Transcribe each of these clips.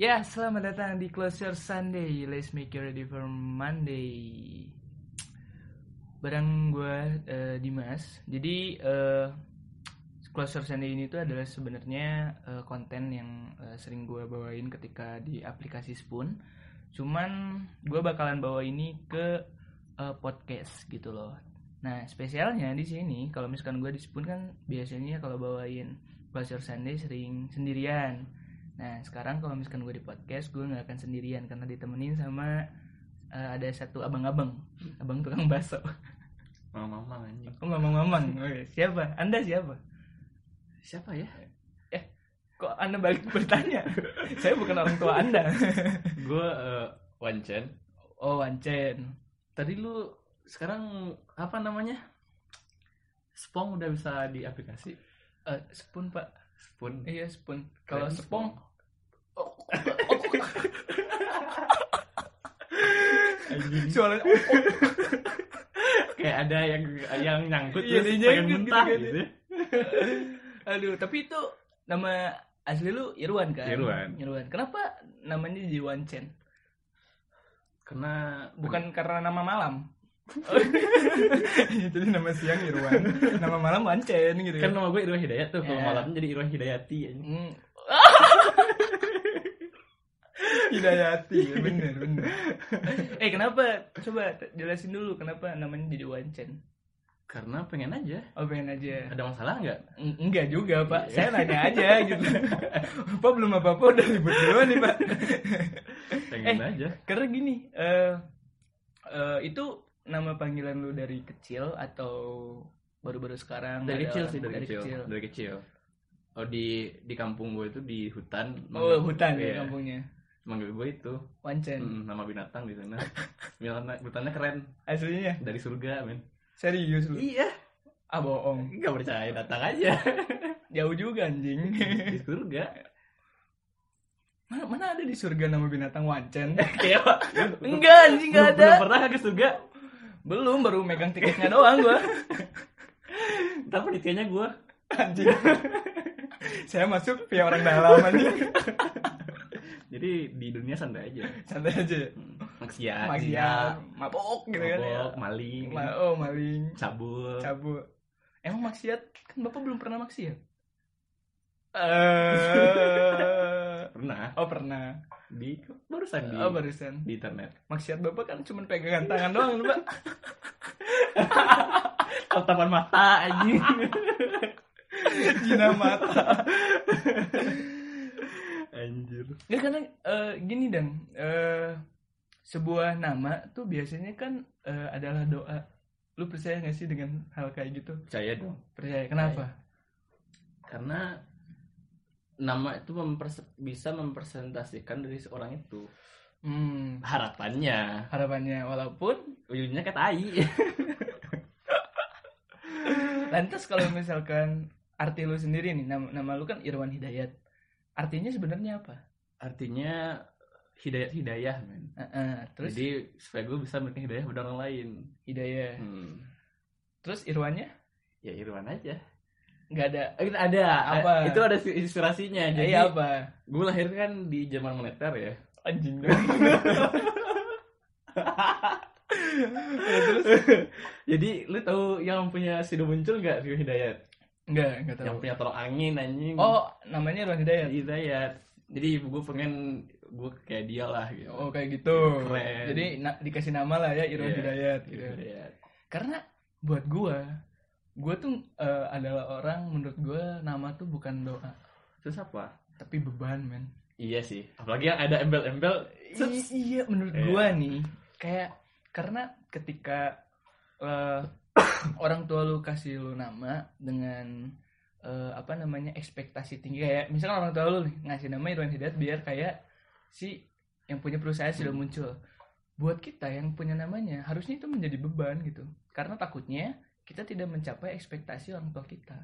Ya, selamat datang di Close Your Sunday. Let's make you ready for Monday. Bareng gue eh, Dimas. Jadi eh, Close Your Sunday ini tuh adalah sebenarnya eh, konten yang eh, sering gue bawain ketika di aplikasi Spoon. Cuman gue bakalan bawa ini ke eh, podcast gitu loh. Nah, spesialnya di sini kalau misalkan gue di Spoon kan biasanya kalau bawain Close Your Sunday sering sendirian. Nah sekarang kalau misalkan gue di podcast gue nggak akan sendirian karena ditemenin sama eh, ada satu abang-abang, abang tukang baso. Mama mama anjing. Oh mamang-mamang, oke siapa? Anda siapa? Siapa ya? Kok Anda balik bertanya? Saya bukan orang tua Anda. Gue Wancen. Oh Wancen, eh, Tadi lu sekarang apa namanya? Spong udah bisa di aplikasi. Eh, Spoon Pak, Spoon. iya Oh, Spoon. Kalau Keren, Spong, Anjing. suaranya Kayak ada yang yang nyangkut Iya, dia terus pengen nyangkut muntah gitu kan. gitu. Aduh, tapi itu nama asli lu Irwan kan? Irwan. Irwan. Kenapa namanya jadi Wancen? Karena Bukan karena nama malam. Jadi nama siang Irwan, nama malam Wancen gitu. kan nama gue Irwan Hidayat tuh kalau Iya. malam jadi Irwan Hidayati anjing. Hmm. Hidayati, ya, bener bener. eh kenapa? Coba t- jelasin dulu kenapa namanya jadi Wancen. Karena pengen aja. Oh pengen aja. Ada masalah nggak? Eng- Enggak juga pak, Iya. saya nanya aja gitu. Pak belum apa-apa udah ribut duluan nih pak. Pengen Eh. aja. Karena gini, eh eh, itu nama panggilan lu dari kecil atau baru-baru sekarang? Dari ada kecil orang- sih dari, kecil. Dari kecil. Oh di di kampung gue itu di hutan. Oh hutan ya Iya. kampungnya, Manggil gue itu. Wancen. Hmm, nama binatang di sana. Binatang, binatangnya keren Aslinya dari surga, men. serius lu? Iya, Ah bohong. nggak percaya datang aja Jauh juga anjing. di surga. mana, mana ada di surga nama binatang wancen? Kayak Enggak anjing enggak ada. Belum pernah ke surga, Belum baru megang tiketnya doang gua. tapi ditianya gue Anjing. Saya masuk via orang dalam anjing. jadi di dunia santai aja. Santai aja. ya. Maksiat, Maksiat, Nah, mabok gitu kan ya. mabok, maling, Ma- oh maling, cabul. cabut. Emang maksiat kan Bapak belum pernah maksiat? Eh. Pernah oh pernah. di barusan di Oh barusan. di internet. Maksiat Bapak kan cuma pegangan tangan doang, Pak. Tatapan mata anjing. Jina mata. Anjir. Ya karena eh, gini dan eh, sebuah nama tuh biasanya kan eh, adalah doa. Lu percaya gak sih dengan hal kayak gitu? Percaya dong. Percaya. Kenapa? Karena nama itu memperse- bisa mempresentasikan dari seorang itu Hmm, harapannya harapannya walaupun ujungnya kayak tai lantas kalau misalkan arti lu sendiri nih nama, nama lu kan Irwan Hidayat. Artinya sebenarnya apa? artinya hidayat hidayah men Eh, eh, terus jadi supaya gue bisa memberikan hidayah pada orang lain Hidayat. hmm. Terus Irwannya ya Irwan aja nggak ada. Eh, ada Apa? Eh, itu ada inspirasinya Jadi jadi apa? gue lahir kan di zaman moneter ya Anjing. Ya, terus jadi lu tahu yang punya Sido muncul nggak Rio Hidayat nggak nggak tahu. yang punya tolong angin anjing Oh, namanya Irwan Hidayat. Hidayat Iya, jadi ibu gue pengen gue kayak dia lah gitu Oh kayak gitu. Keren. Jadi na- dikasih nama lah ya Irwan Iya, Hidayat Rio gitu. Hidayat Karena buat gua, gua tuh eh, adalah orang menurut gua nama tuh bukan doa, terus apa tapi beban, men. iya sih apalagi yang ada embel-embel I- iya menurut Iya. gua nih, kayak karena ketika eh, orang tua lu kasih lu nama dengan eh, apa namanya ekspektasi tinggi kayak misalkan orang tua lu nih ngasih nama Irwan Hidayat biar kayak si yang punya perusahaan sudah muncul. Buat kita yang punya namanya harusnya itu menjadi beban gitu. Karena takutnya kita tidak mencapai ekspektasi orang tua kita.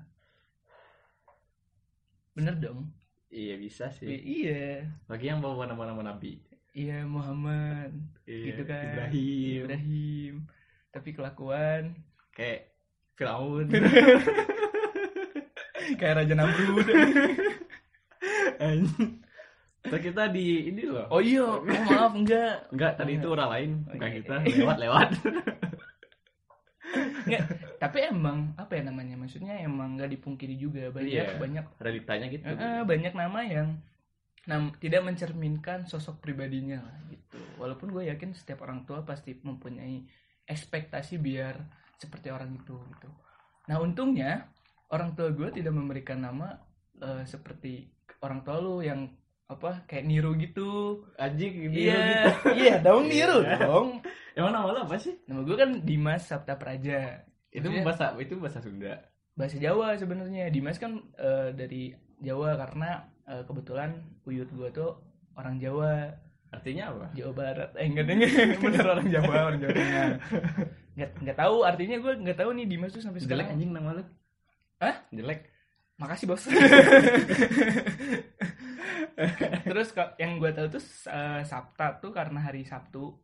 Bener dong? iya bisa sih I- Iya. apalagi yang bawa nama-nama nabi Iya Muhammad, Iya, Gitu kan. Ibrahim Ibrahim. Tapi kelakuan kayak Firaun kayak Raja Namrud. Anjing. Terus kita di ini loh. Oh iya, oh, maaf enggak. Enggak, tadi itu orang lain, Oh, bukan iya. kita. Lewat-lewat. Enggak, tapi emang apa ya namanya? Maksudnya emang nggak dipungkiri juga banyak Iya. banyak Realitanya gitu. eh, eh, banyak nama yang nam- tidak mencerminkan sosok pribadinya lah gitu. Walaupun gue yakin setiap orang tua pasti mempunyai ekspektasi biar seperti orang itu gitu. Nah, untungnya orang tua gue tidak memberikan nama eh, seperti orang tua lu yang apa kayak niru gitu. Anjing gitu. Iya, iya dong niru Iya. dong. Emang nama lo apa sih? Nama gue kan Dimas Sabta Praja. Itu Maksudnya- bahasa itu bahasa Sunda. bahasa Jawa sebenarnya Dimas kan eh, dari Jawa karena eh, kebetulan uyut gua tuh orang Jawa Artinya apa? Jawa Barat eh enggak enggak bener orang Jawa orang Jawa Tengah nggak nggak tahu artinya gua nggak tahu nih Dimas tuh sampai Jelek sekarang anjing nama lu. Hah? Jelek. makasih bos terus ka- yang gua tahu tuh eh, Sabta tuh karena hari Sabtu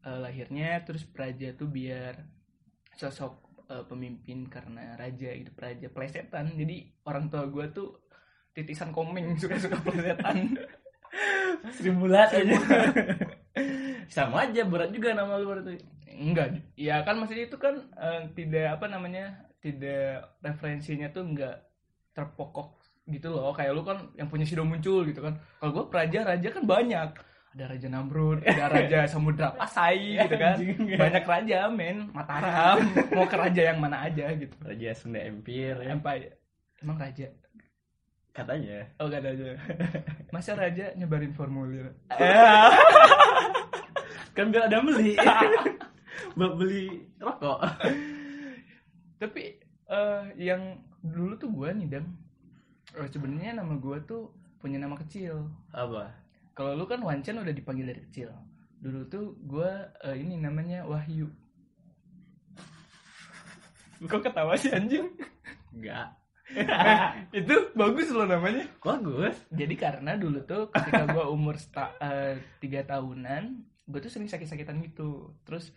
eh, lahirnya terus Praja tuh biar sosok eh, pemimpin karena raja gitu Praja plesetan jadi orang tua gua tuh titisan komeng suka-suka plesetan Sri bulat aja. Iya. Sama aja berat juga nama lu berarti. enggak ya kan maksudnya itu kan eh, tidak apa namanya tidak referensinya tuh enggak terpokok gitu loh kayak lu kan yang punya sido muncul gitu kan kalau gua praja raja kan banyak ada raja Namrud ada raja Samudra Pasai Iya, gitu kan Anjing. banyak raja men Mataram mau ke raja yang mana aja gitu Raja Sunda Empire ya. Empire emang raja katanya. oh gak ada aja masa raja nyebarin formulir Eh. kan biar ada beli. Buat beli rokok. tapi eh, yang dulu tuh gua nih dang eh, sebenarnya nama gua tuh punya nama kecil Apa? kalau lu kan Wancan udah dipanggil dari kecil dulu tuh gua eh, ini namanya Wahyu kok ketawa sih anjing Enggak. itu bagus loh namanya Bagus. jadi karena dulu tuh ketika gua umur sta- eh, tiga tahunan gua tuh sering sakit-sakitan gitu terus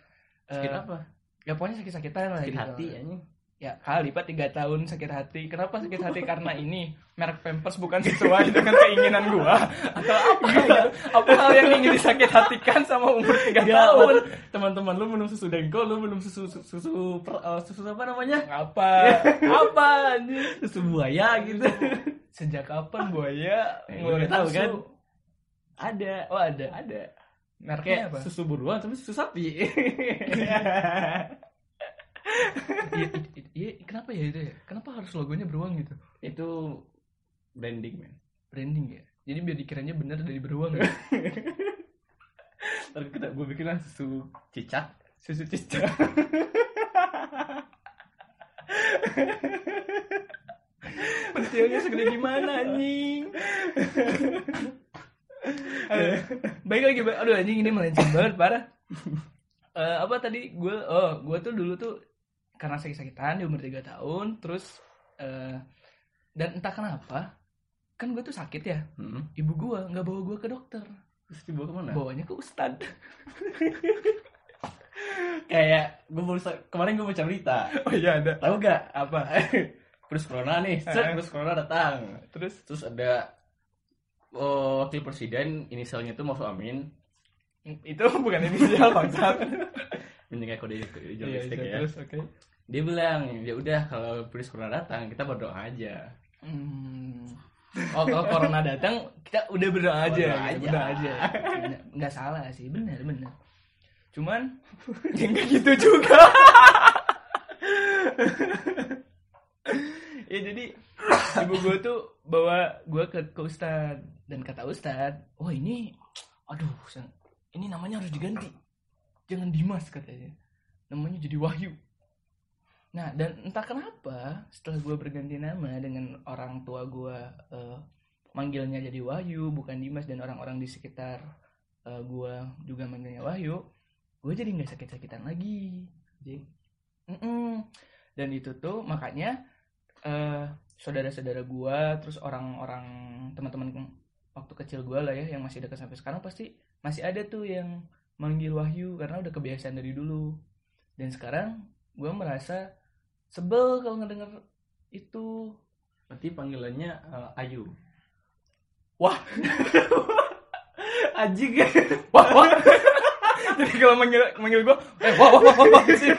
eh, Sakit apa? ya pokoknya sakit-sakitan lah Sakit gitu. hati anjing. ya kali pak tiga tahun sakit hati kenapa sakit hati karena ini merek pampers bukan sesuai dengan keinginan gua atau apa gitu apa hal yang ingin disakit hatikan sama umur tiga Gak tahun tahu teman-teman lu minum susu dengko, lu minum susu susu susu, per- eh, susu apa namanya? apa apa anjing? Susu buaya gitu. sejak kapan ya? buaya Eh, ngeluarin nggak tahu susu? kan? Ada. oh ada Ada. mereknya Kayak apa susu buruan tapi susu sapi. Iya, i- i- iya, kenapa ya itu ya kenapa harus logonya beruang gitu Itu branding, men. branding ya jadi biar dikiranya benar dari beruang ya? Ntar kita gue bikin lah susu cicak. susu cicak pentilnya segede gimana anjing Aduh, Eh, baik lagi Ba- aduh anjing ini melenceng banget parah Eh, apa tadi gue oh gue tuh dulu tuh karena sakit-sakitan di umur 3 tahun terus eh, dan entah kenapa kan gue tuh sakit ya Heeh. ibu gue nggak bawa gue ke dokter Hmm. Terus dibawa kemana? bawanya ke ustad Kayak gue baru sa- kemarin gue baca berita. oh iya ada Tahu gak? apa Virus corona nih, set, virus corona datang. terus Terus ada oh, wakil presiden inisialnya itu Mas Amin itu bukan inisial bangsat menjaga kode kode iya jurnalistik iya, ya. terus oke Dia bilang, ya udah kalau virus corona datang kita berdoa aja. Hmm. oh kalau corona datang kita udah berdoa aja gitu, Berdoa aja. berdoa aja Bener, nggak salah sih benar benar cuman ya nggak gitu juga ya jadi ibu gue tuh bawa gue ke ke ustad dan kata ustad oh ini aduh Sang, ini namanya harus diganti jangan Dimas katanya namanya jadi Wahyu nah dan entah kenapa setelah gue berganti nama dengan orang tua gue eh, manggilnya jadi Wahyu bukan Dimas dan orang-orang di sekitar eh, gue juga manggilnya Wahyu gue jadi nggak sakit-sakitan lagi Anjing. Mm-mm. dan itu tuh makanya eh, saudara-saudara gue terus orang-orang teman-teman waktu kecil gue lah ya yang masih dekat sampai sekarang pasti masih ada tuh yang manggil Wahyu karena udah kebiasaan dari dulu dan sekarang gue merasa sebel kalau ngedenger itu Berarti panggilannya eh, Ayu. Wah. Anjing ya. wah wah jadi kalau manggil manggil gue eh wah wah wah wah, wah sini.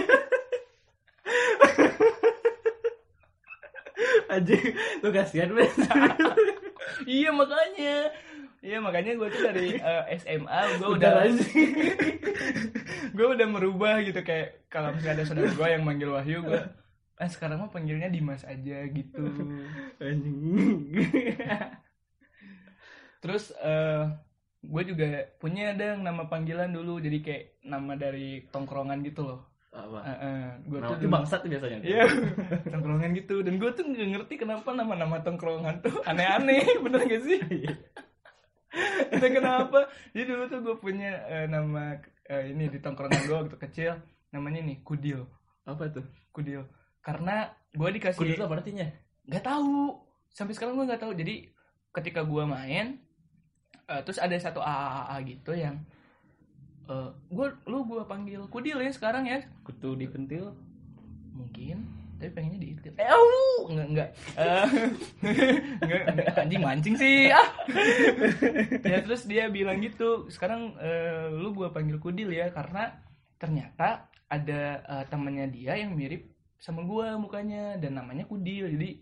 Anjing. Lu kasihan banget. iya makanya iya makanya gue tuh dari eh, SMA gue Udah udah anjing. gue udah merubah gitu kayak kalau misalnya ada saudara gue yang manggil Wahyu gue eh sekarang mah panggilnya Dimas aja gitu Anjing. terus gue juga punya ada yang nama panggilan dulu jadi kayak nama dari tongkrongan gitu loh Apa? gue Nah, tuh itu dulu- bangsat tuh biasanya. Iya, tongkrongan gitu. Dan gue tuh gak ngerti kenapa nama-nama tongkrongan tuh aneh-aneh, bener gak sih? Dan kenapa? Jadi dulu tuh gue punya eh, nama eh, ini di tongkrongan gue waktu kecil, namanya nih Kudil, Apa tuh? Kudil. Karena gue dikasih, Kudus apa artinya? nggak tahu. Sampai sekarang gue nggak tahu. Jadi ketika gue main, eh, terus ada satu AAA gitu yang gue lu gue panggil Kudil ya sekarang ya Kutu dipentil. mungkin tapi pengennya diitil eh au! nggak nggak Eh, nggak nggak. anjing mancing sih ah ya terus dia bilang gitu sekarang eh, lu gua panggil kudil ya karena ternyata ada eh, temannya dia yang mirip sama gua mukanya dan namanya kudil jadi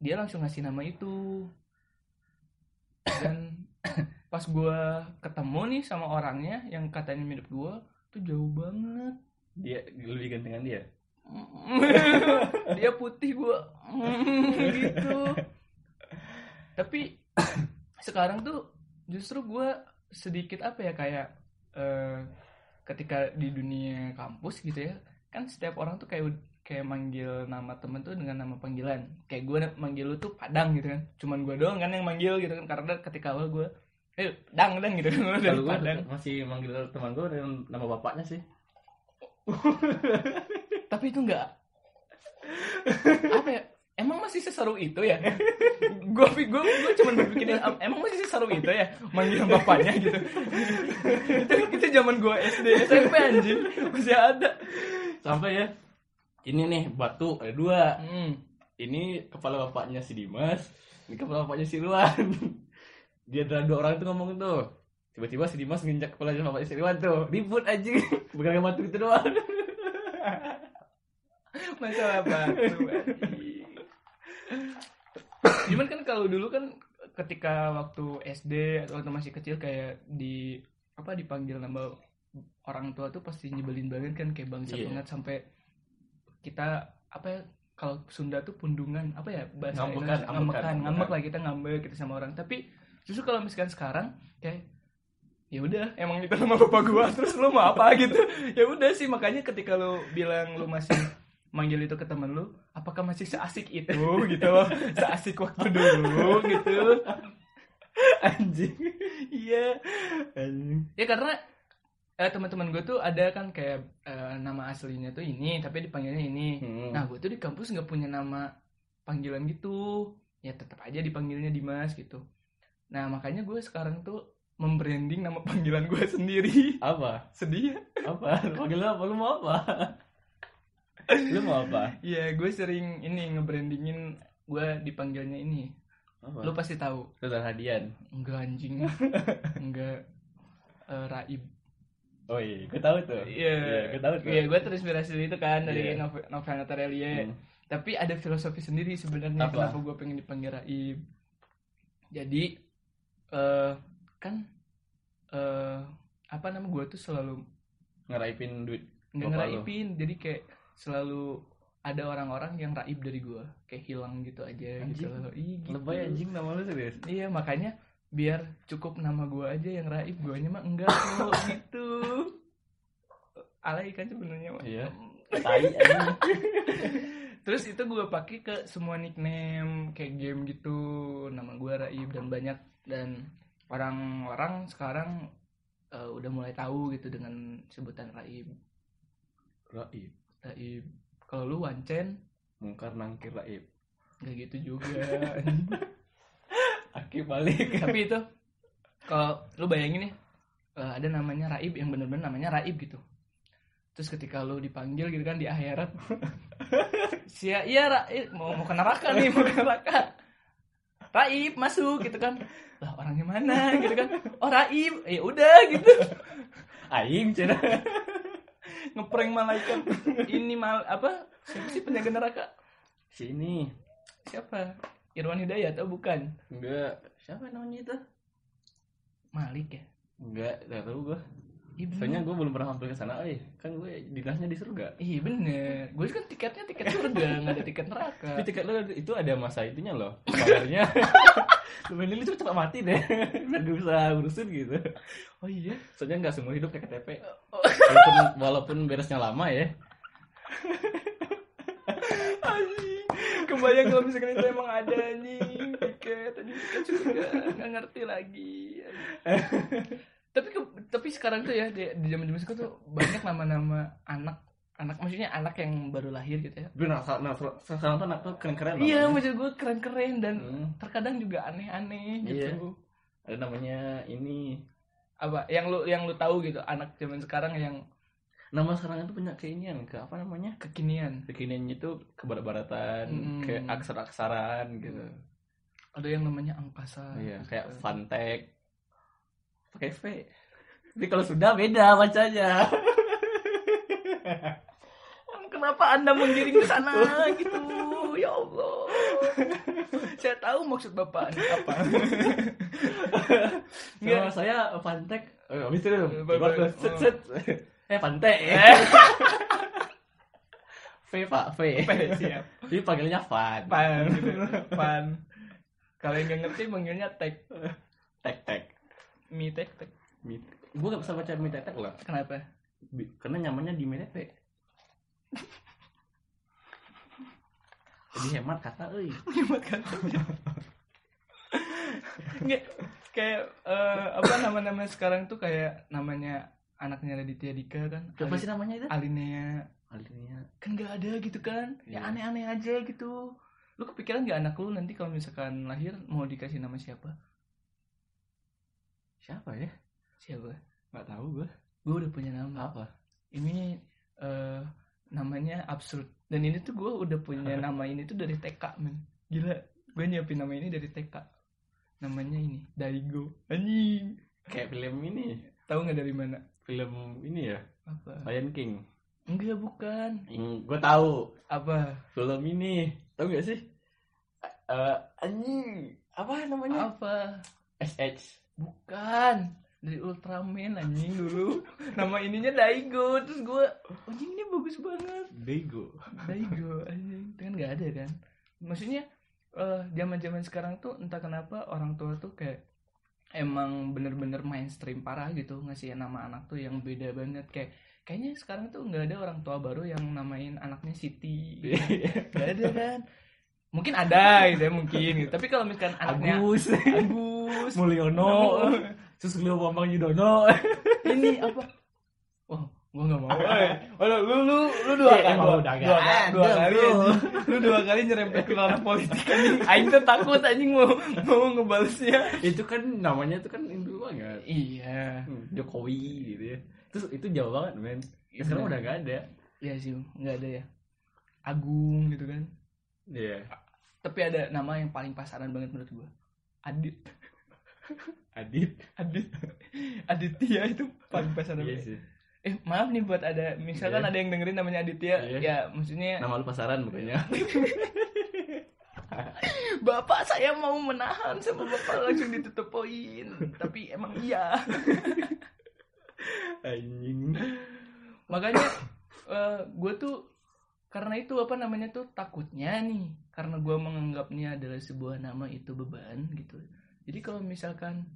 dia langsung ngasih nama itu dan pas gua ketemu nih sama orangnya yang katanya mirip gua tuh jauh banget Dia lu digantengan dia. dia putih gua gitu tapi sekarang tuh justru gua sedikit apa ya kayak eh, ketika di dunia kampus gitu ya kan setiap orang tuh kayak ud- kayak manggil nama temen tuh dengan nama panggilan kayak gua na- manggil lu tuh padang gitu kan cuman gua doang kan yang manggil gitu kan karena ketika awal gua eh dang dang gitu kan Dari Kalau gua padang masih manggil teman gua dengan nama bapaknya sih. tapi itu nggak apa ya emang masih seseru itu ya gue gue gue cuman berpikir em- emang masih seseru itu ya manggil bapaknya gitu itu itu zaman gue SD SMP anjing masih ada Sampai ya. Ini nih batu ada dua. hmm. Ini kepala bapaknya si Dimas, ini kepala bapaknya si Irwan. Dia ada dua orang tuh ngomong tuh. Tiba-tiba si Dimas nginjak kepala bapaknya si Irwan tuh. Ribut anjing. Bukan batu itu doang. masalah batu anjing. cuman kan kalau dulu kan ketika waktu SD atau waktu masih kecil kayak di apa dipanggil nama orang tua tuh pasti nyebelin banget kan kayak bangsa Iya. banget sampai kita apa ya kalau Sunda tuh pundungan apa ya bahasa Ngambekan, Indonesia ngambekan, ngambekan ngambek ngambekan. lah kita ngambek kita sama orang tapi justru kalau misalkan sekarang kayak ya udah emang itu nama bapak gua terus lu mau apa gitu ya udah sih makanya ketika lu bilang lu masih manggil itu ke temen lu apakah masih seasik itu gitu loh seasik waktu dulu gitu Anjing. iya Anjing. ya karena eh, teman-teman gue tuh ada kan kayak eh, nama aslinya tuh ini tapi dipanggilnya ini Hmm. nah gue tuh di kampus nggak punya nama panggilan gitu ya tetap aja dipanggilnya Dimas gitu nah makanya gue sekarang tuh membranding nama panggilan gue sendiri apa? sedih ya? apa panggil lu apa lu mau apa lu mau apa Iya, gue sering ini ngebrandingin gue dipanggilnya ini. apa Lo pasti tahu. Sultan Hadian Enggak anjing. Enggak eh, Raib. oh iya gue tahu tuh Iya, gue tahu tuh Iya, gue terinspirasi dari itu kan dari Iya. novel, novel Natarelia. Hmm. Tapi ada filosofi sendiri sebenarnya Apa? kenapa gue pengen dipanggil Raib. Jadi eh kan eh apa nama gue tuh selalu ngeraipin duit nggak Bapak lo. ngeraibin. Jadi kayak selalu ada orang-orang yang raib dari gue kayak hilang gitu aja gitu Anjing. loh Ih, gitu. lebay anjing nama lu serius Iya makanya biar cukup nama gua aja yang Raib guanya mah enggak kok gitu alay kan sebenarnya mah Iya. tai anjing terus itu gua pakai ke semua nickname kayak game gitu nama gua Raib dan banyak dan orang-orang sekarang eh, udah mulai tahu gitu dengan sebutan Raib raib Raib kalau lu Wancen mungkar nangkir raib nggak gitu juga aki balik tapi itu kalau lu bayangin nih eh, ada namanya Raib yang bener-bener namanya Raib gitu terus ketika lu dipanggil gitu kan di akhirat sia iya Raib mau mau ke neraka nih mau ke neraka Raib masuk gitu kan lah orangnya mana gitu kan oh Raib ya udah gitu Aing cina. ngeprank malaikat ini mal apa siapa sih penjaga neraka Sini. siapa Irwan Hidayat atau bukan Enggak. Siapa namanya itu? Malik ya Enggak, enggak tahu gua. Iya bener. Soalnya gua belum pernah hampir ke sana. Eh, kan gue dinasnya di surga. Iya bener. Gue kan tiketnya tiket surga, nggak ada tiket neraka. Tapi tiket lu itu ada masa itunya loh. Bayarnya. Sebenarnya lu cepat mati deh. Udah berusaha urusin gitu. Oh iya. Oh. Soalnya enggak semua hidup kayak KTP. Walaupun, walaupun beresnya lama ya. Anjing. Kebayang kalau misalkan itu emang ada anjing tiket, anjing tiket surga, nggak ngerti lagi. anjing. tapi ke- tapi sekarang tuh ya di di zaman-zaman sekarang tuh banyak nama-nama anak anak maksudnya anak yang baru lahir gitu ya. Tapi nah, sa- nah, se- sekarang tuh anak tuh keren-keren loh. Iya, maksud gue keren-keren dan Hmm. terkadang juga aneh-aneh Iya. gitu. Ada namanya ini. Apa yang lu yang lu tahu gitu anak zaman sekarang yang Nama sekarang itu punya keinian ke apa namanya? kekinian. Kekiniannya itu kebarat-baratan, Hmm. ke aksara-aksaran gitu. Ada yang namanya angkasa. Iya, gitu kayak kan. Fantech. Pakai V. Tapi kalau sudah beda bacanya. Kenapa Anda menggiring ke sana gitu? Ya Allah. Saya tahu maksud Bapak ini apa. Nggak. Kalau saya Fantech, eh habis itu dong. Baik, Keluar baik. tuh, set set. Eh Fantech. V Pak, V. Siap. Jadi panggilnya Fan. Pan gitu. ya? Pan. Kalau yang nggak ngerti manggilnya tek Tek tek. mi tek tek. Gue gak bisa baca mie tetek lah. Kenapa? Bi- Karena nyamannya di mie tetek. Jadi hemat kata, euy. Nyumat kan. Nggak, kayak eh, apa nama-nama sekarang tuh kayak namanya anaknya Raditya Dika kan. Apa sih namanya itu? Alinea Alinea. kan nggak ada gitu kan ya Iya. aneh-aneh aja gitu lu kepikiran nggak anak lu nanti kalau misalkan lahir mau dikasih nama siapa Siapa ya? siapa Gak tahu gue. gue udah punya nama Apa? ini eh, namanya absurd dan ini tuh gue udah punya nama ini tuh dari TK men gila gue nyiapin nama ini dari TK namanya ini Daigo anjing Kayak film ini. tahu nggak dari mana film ini ya apa Lion King enggak bukan gue Hmm, tahu apa film ini tahu gak sih Eh, anjing apa namanya apa SH Bukan dari Ultraman anjing dulu. Nama ininya Daigo. Terus gue, anjing ini bagus banget. Bego Daigo anjing. Itu kan nggak ada kan. Maksudnya eh, zaman-zaman sekarang tuh entah kenapa orang tua tuh kayak emang bener-bener mainstream parah gitu ngasih nama anak tuh yang beda banget kayak kayaknya sekarang tuh nggak ada orang tua baru yang namain anaknya Siti gitu. nggak ada kan mungkin ada gitu ya mungkin gitu. tapi kalau misalkan anaknya Agus Agus Mulyono Susilo Bambang Yudono ini apa wah gua nggak mau oh, lu lu lu, lu dua Eh, kali emang dua, udah nggak dua, kali- ada, dua kali bro. anjing. lu dua kali nyerempet ke ranah politik anjing aing tuh takut anjing mau mau ngebalasnya itu kan namanya itu kan Indo banget iya Hmm, Jokowi gitu ya terus itu jauh banget men Ya, sekarang udah gak ada iya sih nggak ada ya Agung gitu kan Iya tapi ada nama yang paling pasaran banget menurut gua Adit Adit Adit Aditya itu paling pasaran Iya banget. sih eh maaf nih buat ada misalkan Iya. ada yang dengerin namanya Aditya Iya. ya maksudnya nama lu pasaran bukannya Bapak saya mau menahan sama bapak langsung ditutup poin. Tapi emang iya. anjing Makanya gue tuh karena itu apa namanya tuh takutnya nih karena gue menganggapnya adalah sebuah nama itu beban gitu. Jadi kalau misalkan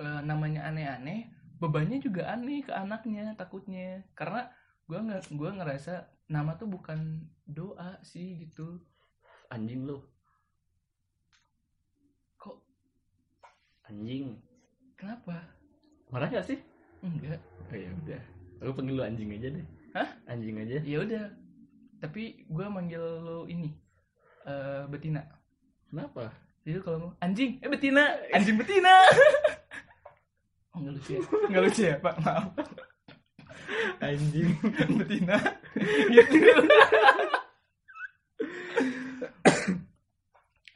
eh, namanya aneh-aneh, bebannya juga aneh ke anaknya takutnya. Karena gue nggak gue ngerasa nama tuh bukan doa sih gitu. anjing lu Kok anjing kenapa? marah gak sih Enggak. Oh ya udah. Aku panggil lu anjing aja deh. Hah? Anjing aja. ya udah tapi gue manggil lo ini eh betina Kenapa? jadi kalau mau anjing eh betina anjing betina oh, nggak lucu ya nggak lucu ya pak maaf Anjing. betina gitu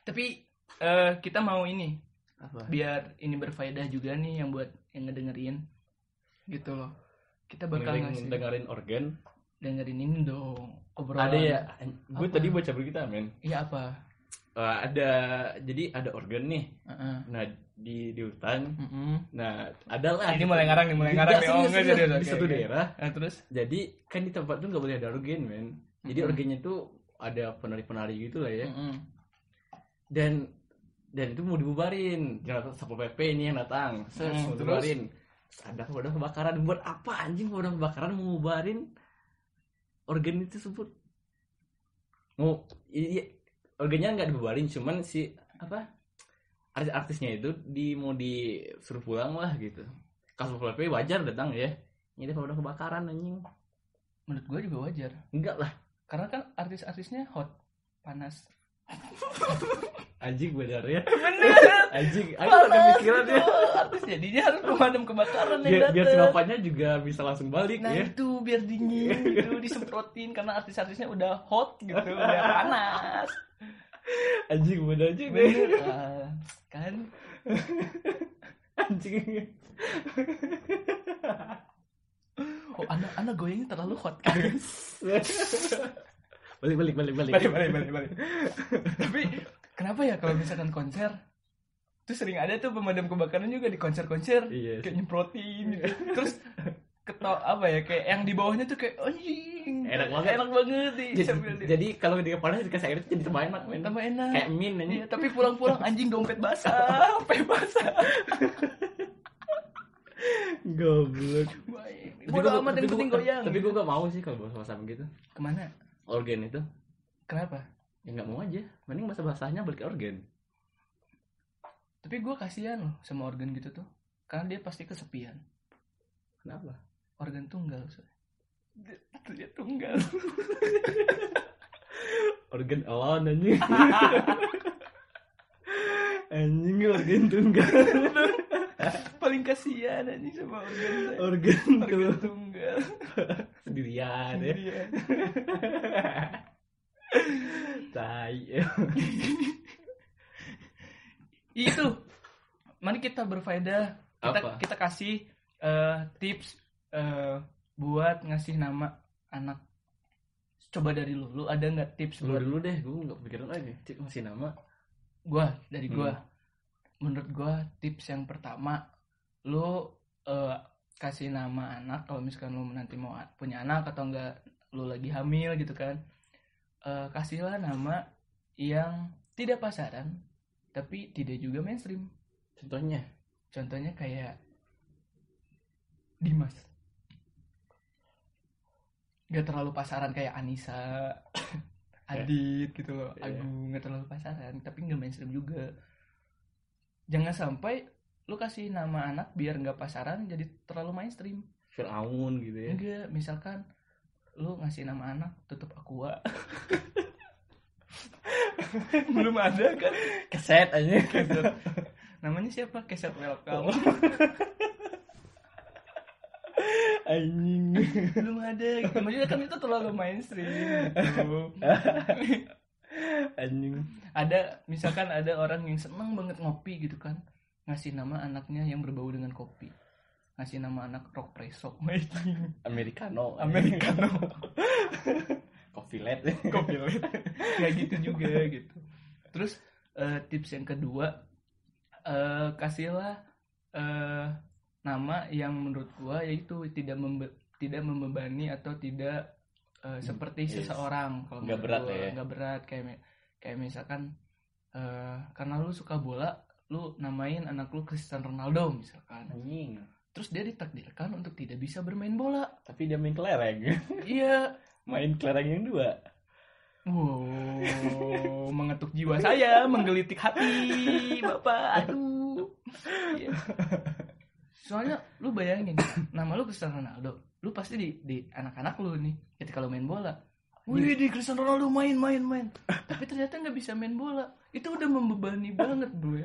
tapi eh eh, kita mau ini Apa? biar ini berfaedah juga nih yang buat yang ngedengerin gitu loh kita bakal Dengerin, ngasih dengerin organ. dengerin ini dong obrolan Ada ya. Gue Apa? tadi baca berita men. iya apa Eh, ada jadi ada organ nih. Heeh. Nah di di hutan. Mm-mm. Nah adalah. Ah, Ini mulai ngarang nih, mulai ngarang nih. Oh, Enggak, enggak, serius, serius, serius. Di oke, satu oke. daerah. Nah, terus Jadi kan di tempat tuh nggak boleh ada organ men. Jadi Mm-mm. organnya tuh ada penari-penari gitu lah ya. Mm-mm. dan dan itu mau dibubarin jangan satpol pp ini yang datang Set, Hmm, mau terus? dibubarin Terus ada pemadam kebakaran buat apa anjing pemadam kebakaran mau bubarin organ itu sebut mau i- i- organnya nggak dibubarin cuman si apa artis-artisnya itu di mau disuruh pulang lah gitu kasus satpol pp wajar datang ya ini ada pemadam kebakaran anjing menurut gue juga wajar enggak lah karena kan artis-artisnya hot panas anjing benar ya bener anjing aku panas nggak kepikiran ya artis jadinya harus pemadam kebakaran yang biar, biar si datang. bapaknya juga bisa langsung balik nah ya itu biar dingin gitu disemprotin karena artis-artisnya udah hot gitu udah panas anjing bener ya. aja bener ah, kan anjing oh anak anak goyangnya terlalu hot kan balik balik balik balik balik balik balik balik Iya, tapi kenapa ya kalau misalkan konser tuh sering ada tuh pemadam kebakaran juga di konser-konser Iya kayak nyemprotin gitu. terus ketok apa ya kayak yang di bawahnya tuh kayak "Oh, anjing Enak banget. enak banget di jadi, sambil di- jadi kalau dia panas dikasih air jadi tambah enak men Kan tambah enak kayak min anjing Iya, tapi pulang-pulang anjing dompet basah sampai basah goblok Baik. bodo amat yang penting goyang tapi gue gak mau sih kalau bahasa bahasa gitu kemana organ itu kenapa ya nggak mau aja mending bahasa bahasanya balik ke organ tapi gue kasihan loh sama organ gitu tuh karena dia pasti kesepian kenapa organ tunggal Sob. dia, dia tunggal organ alone anjing anjing organ tunggal paling kasihan anjing sama organ saya. organ organ tunggal tunggal sendirian ya Iya. tai itu mari kita berfaedah kita Apa? kita kasih eh, tips eh, buat ngasih nama anak coba dari lu lu ada nggak tips Lu buat dulu deh, gue gak pikiran lagi Cik masih nama gua dari gua menurut gua tips yang pertama lu eh, kasih nama anak kalau misalkan lu nanti mau a- punya anak atau enggak lu lagi hamil gitu kan Eh, kasihlah nama yang tidak pasaran tapi tidak juga mainstream Contohnya contohnya kayak Dimas gak terlalu pasaran kayak Anissa Adit gitu loh Iya. Agung gak terlalu pasaran tapi gak mainstream juga jangan sampai lu kasih nama anak biar nggak pasaran jadi terlalu mainstream Fir'aun gitu ya enggak misalkan lu ngasih nama anak tutup aqua belum ada kan Keset aja Keset. namanya siapa keset welcome Anjing belum ada gitu. maksudnya kan itu terlalu mainstream gitu. Anjing ada misalkan ada orang yang seneng banget ngopi gitu kan ngasih nama anaknya yang berbau dengan kopi ngasih nama anak rock preso making Americano americano Coffee late kopi led nggak gitu juga gitu terus eh, tips yang kedua eh, kasihlah eh, nama yang menurut gua yaitu tidak membe- tidak membebani atau tidak eh, seperti Yes. seseorang kalau Nggak menurut berat gua. ya. nggak berat kayak mi- kayak misalkan eh, karena lu suka bola lu namain anak lu Cristiano Ronaldo misalkan Anjing terus dia ditakdirkan untuk tidak bisa bermain bola Tapi dia main kelereng iya Main kelereng yang dua Wow, mengetuk jiwa saya, menggelitik hati, bapak. Aduh. Iya. Soalnya lu bayangin, nama lu Cristiano Ronaldo, lu pasti di, di anak-anak lu nih, ketika lu main bola. Wih, di Cristiano Ronaldo main, main, main. Tapi ternyata nggak bisa main bola. Itu udah membebani banget, bro.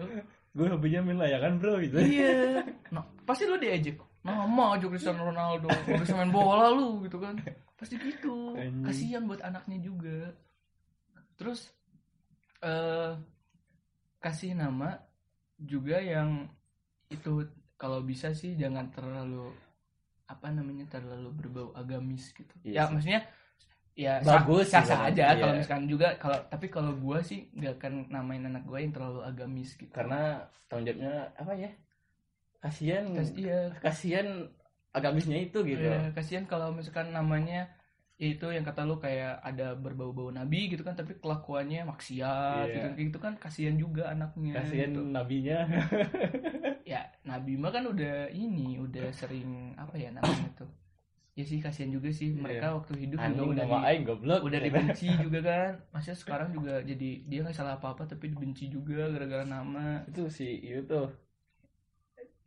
Gue hobinya main layangan bro gitu Iya. Nah, pasti lu diejek. Nama aja Cristiano Ronaldo, nggak bisa main bola lu gitu kan. Pasti gitu. Anjing. Kasihan buat anaknya juga. Terus eh kasih nama juga yang itu kalau bisa sih jangan terlalu apa namanya terlalu berbau agamis gitu. Iya ya sih. maksudnya ya Bagus sah, sih, sah bagus. aja kalau Iya. misalkan juga kalau tapi kalau gua sih nggak akan namain anak gua yang terlalu agamis gitu. karena tanggung jawabnya apa ya kasihan Kas- iya, kasihan agamisnya itu gitu Iya, kasihan kalau misalkan namanya itu yang kata lu kayak ada berbau-bau nabi gitu kan tapi kelakuannya maksiat Iya. gitu gitu kan kasihan juga anaknya kasihan gitu. nabinya ya nabi mah kan udah ini udah sering apa ya namanya tuh ya sih kasihan juga sih mereka waktu hidup juga anjing udah Iya. Anu, nama di- aing goblok udah Gitu. dibenci juga kan masih sekarang juga jadi dia nggak salah apa-apa tapi dibenci juga gara-gara nama itu si itu tuh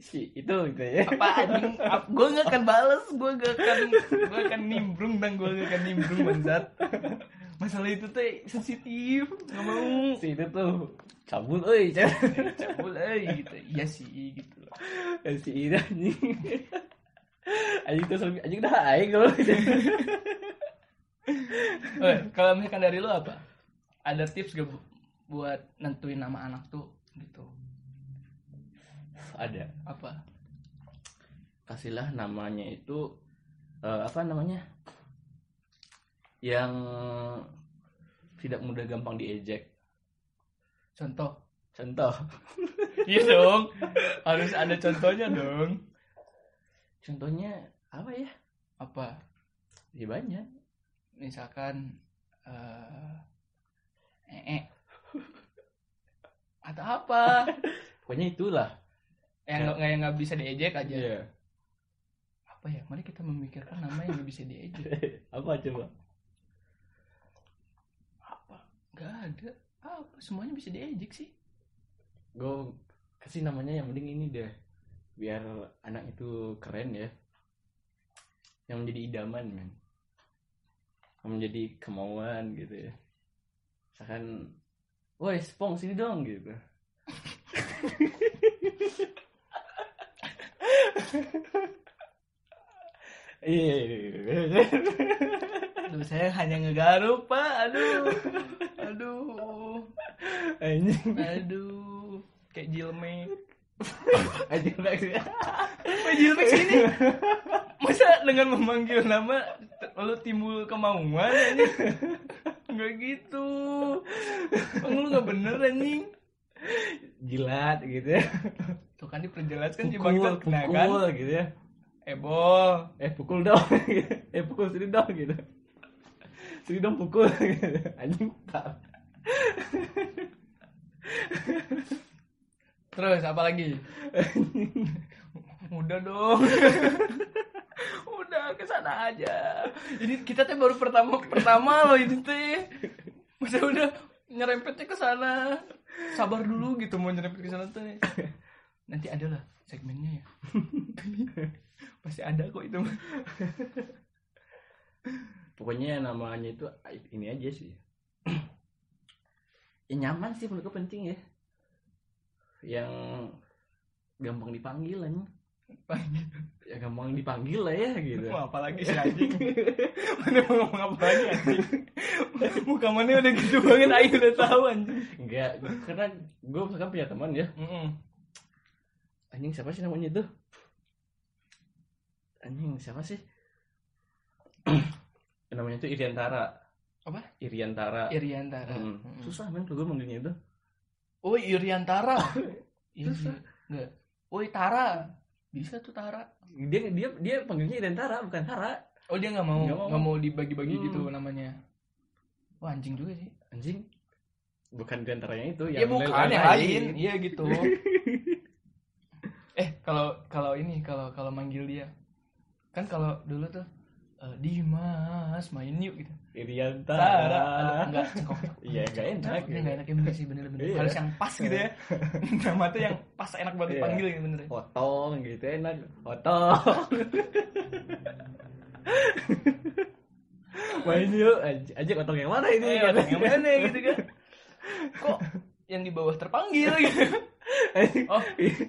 si itu gitu ya apa anjing gue gak akan bales gue gak akan gue akan nimbrung dan gue gak akan nimbrung bangsat masalah itu teh sensitif gak mau si itu tuh cabul euy cabul eh gitu iya sih gitu si itu anjing anjing terus lebih anjing dah aing gitu. goblok Eh, kalau misalkan dari lu apa ada tips gak bu- buat nentuin nama anak tuh gitu ada apa kasihlah namanya itu eh, apa namanya yang tidak mudah gampang diejek contoh contoh iya dong harus ada contohnya dong contohnya apa ya apa ya banyak misalkan eh ee atau apa pokoknya itulah yang nggak yang nggak bisa diejek aja Iya. apa ya mari kita memikirkan nama yang nggak bisa diejek apa coba apa nggak ada apa semuanya bisa diejek sih gue kasih namanya yang mending ini deh biar anak itu keren ya yang menjadi idaman men yang menjadi kemauan gitu ya misalkan woi spong sini dong gitu iya iya, iya, iya. Aduh, saya hanya ngegaruk pak aduh aduh anjing aduh kayak jilme anjing lagi Pak jilme sini masa dengan memanggil nama lalu timbul kemauan anjing nggak gitu Bang, lu nggak bener anjing jilat gitu ya tuh kan diperjelas kan pukul jebak kan pukul gitu ya ebol eh pukul dong eh pukul sini dong gitu sini dong pukul gitu. anjing tak Terus apa lagi? Udah dong. Udah kesana aja. Ini kita teh baru pertama pertama loh ini teh. Masa udah nyerempetnya ke sana. Sabar dulu gitu mau nyerempet ke sana teh. Nanti ada lah segmennya ya. Pasti ada kok itu. mah. pokoknya namanya itu ini aja sih ya nyaman sih menurutku penting ya yang gampang dipanggil anjing Panggil. ya gampang dipanggil lah ya gitu Mau apa lagi sih anjing? Mana mau ngomong apa lagi anjing? Muka mana udah gitu banget aing udah tahu anjing. enggak karena gue misalkan punya teman ya Mm-mm. anjing siapa sih namanya itu anjing siapa sih namanya itu Iriantara Apa? Iya. Iriantara Iriantara. Hmm. Mm-mm. Susah men kalau gue manggilnya itu. Woi Iriantara. Iya Susah. Enggak. Woi Tara. Bisa tuh Tara. Dia dia dia panggilnya Identara bukan Tara. Oh dia nggak mau Nggak mau. nggak mau dibagi-bagi Hmm. gitu namanya. Wah anjing juga sih. Anjing. Bukan Identaranya itu Ya bukan yang lain. Iya gitu. eh kalau kalau ini kalau kalau manggil dia kan kalau dulu tuh eh, Dimas main yuk gitu. Tara. Aduh, Ah. Iriantara. enggak cengkok. Iya, enggak enak. Ini gitu. enggak enak ya bener sih bener-bener. Iya. Harus yang pas gitu ya. Nama tuh yang pas enak buat Iya. dipanggil gitu bener. Potong gitu enak. Potong. Main yuk. Aj- Ajak potong yang mana ini? Eh, orang yang mana gitu kan kok yang di bawah terpanggil gitu Anjing, Oh.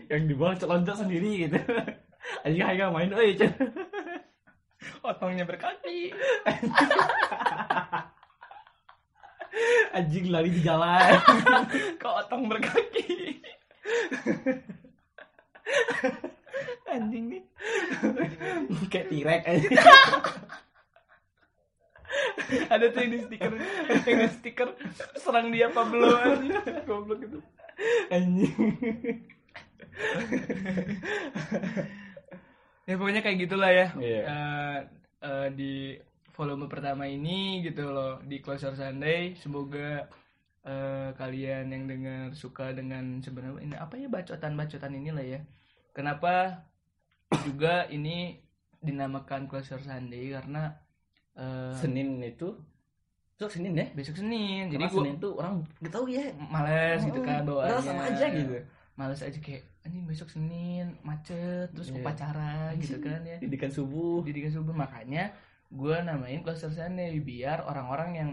yang di bawah loncat sendiri gitu. Anjing Haikal main euy. Cen. otongnya berkaki anjing lari di jalan kok otong berkaki anjing nih kayak tirek anjing ada tuh yang di stiker yang di stiker serang dia apa belum anjing goblok itu anjing ya pokoknya kayak gitulah ya Iya. Eh, eh, di volume pertama ini gitu loh di closer Sunday semoga eh, kalian yang dengar suka dengan sebenarnya ini apa ya bacotan-bacotan inilah ya kenapa juga ini dinamakan closer Sunday karena eh, Senin itu besok Senin ya besok Senin jadi jadi gue Senin tuh orang gak tahu ya males gitu kan bawaannya Padahal sama aja gitu males aja kayak anjing besok Senin macet terus Iya. upacara gitu kan ya didikan subuh pendidikan subuh makanya gue namain cluster Sunday biar orang-orang yang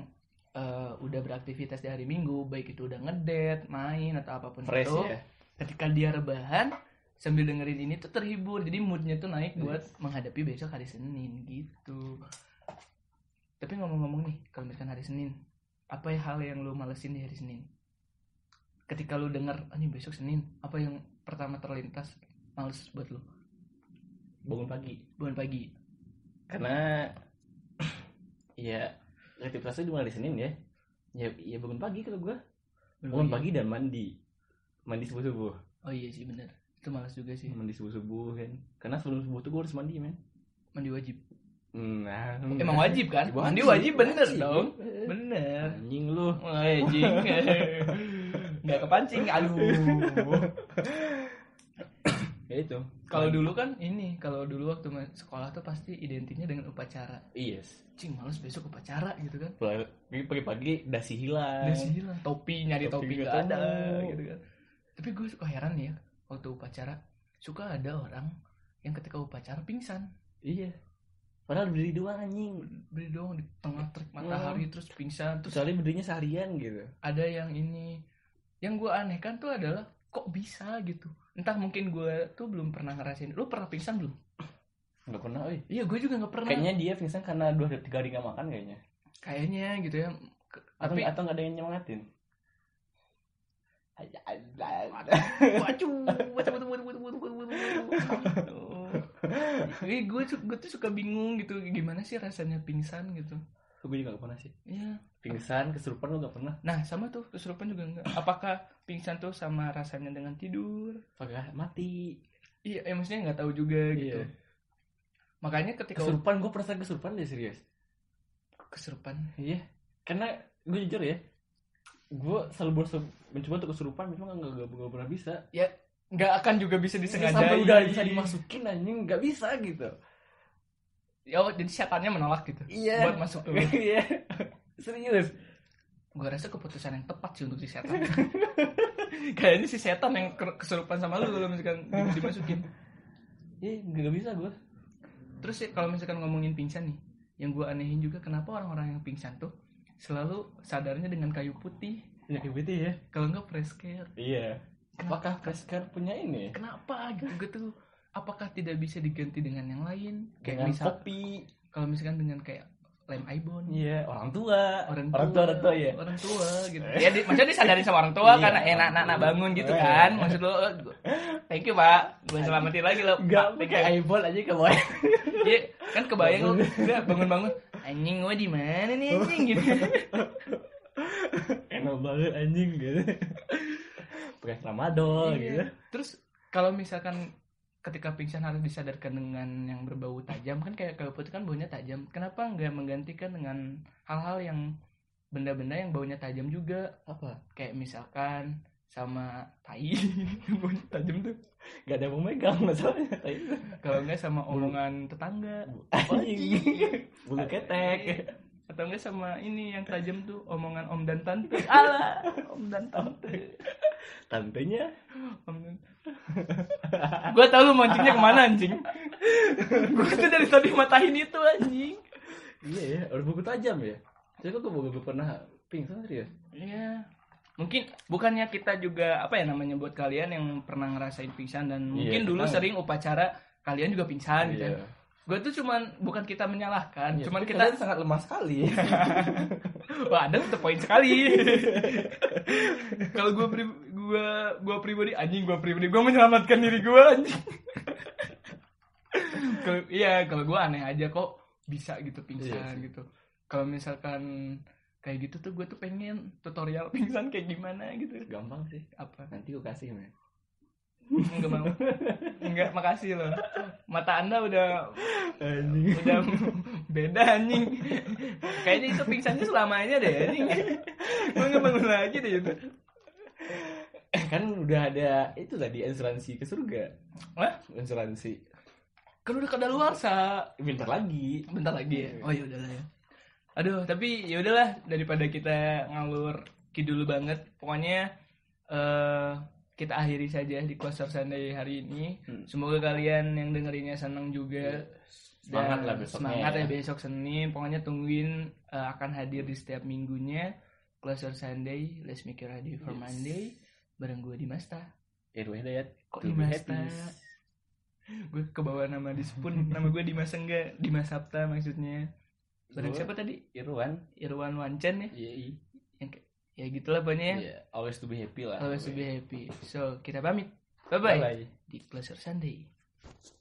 eh, udah beraktivitas di hari Minggu baik itu udah ngedate main atau apapun fresh itu ya ketika dia rebahan sambil dengerin ini tuh terhibur jadi moodnya tuh naik buat menghadapi besok hari Senin gitu tapi ngomong-ngomong nih kalau misalkan hari Senin apa ya hal yang lu malesin di hari Senin ketika lu denger "Ah, ini besok Senin apa yang pertama terlintas males buat lu bangun pagi bangun pagi karena ya aktivitasnya dimulai di Senin ya ya, ya bangun pagi kalau gua bangun pagi dan mandi mandi subuh subuh Oh iya sih bener Itu malas juga sih mandi subuh subuh kan karena sebelum subuh tuh gua harus mandi men Mandi wajib nah Emang wajib kan? Mandi wajib bener dong Bener anjing lu Wah jing Gak kepancing Aduh ya itu Kalau dulu kan ini Kalau dulu waktu ma- sekolah tuh pasti identiknya dengan upacara yes Cing males besok upacara gitu kan Iya, Pagi- pagi-pagi dasi hilang Udah sih lah Topi nyari Eh, topi, Topi nggak gak ada tahu. gitu kan Tapi gue suka heran ya Waktu upacara Suka ada orang Yang ketika upacara pingsan iya padahal berdiri doang anjing Beli dong di tengah terik matahari Hmm. Terus pingsan Terus soalnya berdirinya seharian gitu ada yang ini yang gue anehkan tuh adalah kok bisa gitu entah mungkin gue tuh belum pernah ngerasain lu pernah pingsan belum nggak pernah oi. iya gue juga nggak pernah kayaknya dia pingsan karena dua tiga hari nggak makan kayaknya Kayaknya gitu ya Ke- atau tapi atau nggak ada yang nyemangatin wacu wacu wacu wacu wacu wacu gue gue tuh suka bingung gitu gimana sih rasanya pingsan gitu gue juga gak pernah sih Iya. pingsan kesurupan lu gak pernah Nah, sama tuh kesurupan juga enggak. Apakah pingsan tuh sama rasanya dengan tidur? apakah mati Iya, ya, maksudnya nggak tahu juga gitu. Iya. Makanya ketika kesurupan gue pernah kesurupan deh serius kesurupan iya karena gue jujur ya gue selalu berusaha mencoba untuk kesurupan memang nggak nggak nggak pernah bisa nggak akan juga bisa disengaja Iya, sampai udah bisa dimasukin anjing nggak bisa gitu ya oh, jadi setannya menolak gitu Iya. buat masuk ke iya serius gue rasa keputusan yang tepat sih untuk si setan kayaknya si setan yang ker- kesurupan sama lu kalau misalkan di- dimasukin iya nggak nggak bisa gue terus sih kalau misalkan ngomongin pingsan nih yang gue anehin juga kenapa orang-orang yang pingsan tuh selalu sadarnya dengan kayu putih penyakit BT ya kalau nggak fresh care iya apakah Prescar punya ini kenapa gitu gue tuh apakah tidak bisa diganti dengan yang lain kayak dengan misal kopi kalau misalkan dengan kayak lem ibon iya orang tua orang tua, orang tua orang tua ya orang tua gitu ya di, maksudnya disadarin sama orang tua Iya. karena enak anak anak bangun gitu kan maksud lo thank you pak gue selamatin lagi lo Enggak, Pak, thank pakai you. eyeball aja kamu. Iya, kan kebayang lo bangun bangun anjing gue di mana nih anjing gitu Enak banget anjing gitu. Pakai tramadol Iya. gitu. terus kalau misalkan ketika pingsan harus disadarkan dengan yang berbau tajam kan kayak kalau putih kan baunya tajam kenapa nggak menggantikan dengan hal-hal yang benda-benda yang baunya tajam juga Apa? kayak misalkan sama tai baunya tajam tuh Gak ada yang mau megang masalahnya. tai. kalau enggak sama omongan tetangga Anjing. Bulu ketek. atau enggak sama ini yang tajam tuh omongan om dan tante ala om dan tante Tantenya om dan... gue tau lu mancingnya kemana anjing gue tuh dari tadi matahin itu anjing iya ya, harus buku tajam ya. Saya kok gue gak pernah pingsan serius. Iya. Mungkin bukannya kita juga apa ya namanya buat kalian yang pernah ngerasain pingsan dan mungkin Iya, dulu kita- sering upacara kalian juga pingsan gitu. ya. gue tuh cuman bukan kita menyalahkan Iya, cuman tapi kita kalian sangat lemah sekali wah ada tuh poin sekali kalau gue pri gue gue pribadi anjing gue pribadi gue menyelamatkan diri gue anjing Kalau- iya kalau gue aneh aja kok bisa gitu Iya pingsan sih. gitu kalau misalkan kayak gitu tuh gue tuh pengen tutorial pingsan kayak gimana gitu gampang sih apa nanti gue kasih men Enggak mau. Enggak, makasih loh. Mata Anda udah anjing udah beda anjing. Kayaknya itu pingsannya selamanya deh anjing. Gue nggak bangun lagi deh itu. kan udah ada itu tadi asuransi ke surga Wah, asuransi kan udah kada luar bentar lagi Bentar lagi ya. Iya. Oh ya udahlah ya. Aduh, tapi ya udahlah daripada kita ngalur kidul banget. Pokoknya eh kita akhiri saja di closer Sunday hari ini. Hmm. Iya. Semoga kalian yang dengerinnya senang juga. Semangat Dan lah besoknya Semangat ya ya. besok Senin. Pokoknya tungguin eh, akan hadir di setiap minggunya. Closer Sunday, Let's Make It Ready for Yes. Monday. Bareng gue Dimasta. Irwa Hidayat Kok ya, to be Dimas, happy. Tak? Gue kebawa nama di Spoon. nama gue Dimas Engga. Dimas Sapta maksudnya. Bareng Gua siapa tadi? Irwan Irwan Wancan ya. iya iya. Yang kayak- ya gitulah pokoknya. Iya, always to be happy lah Always to be happy. So, kita pamit. Bye-bye. Bye-bye. Di Closer Sunday.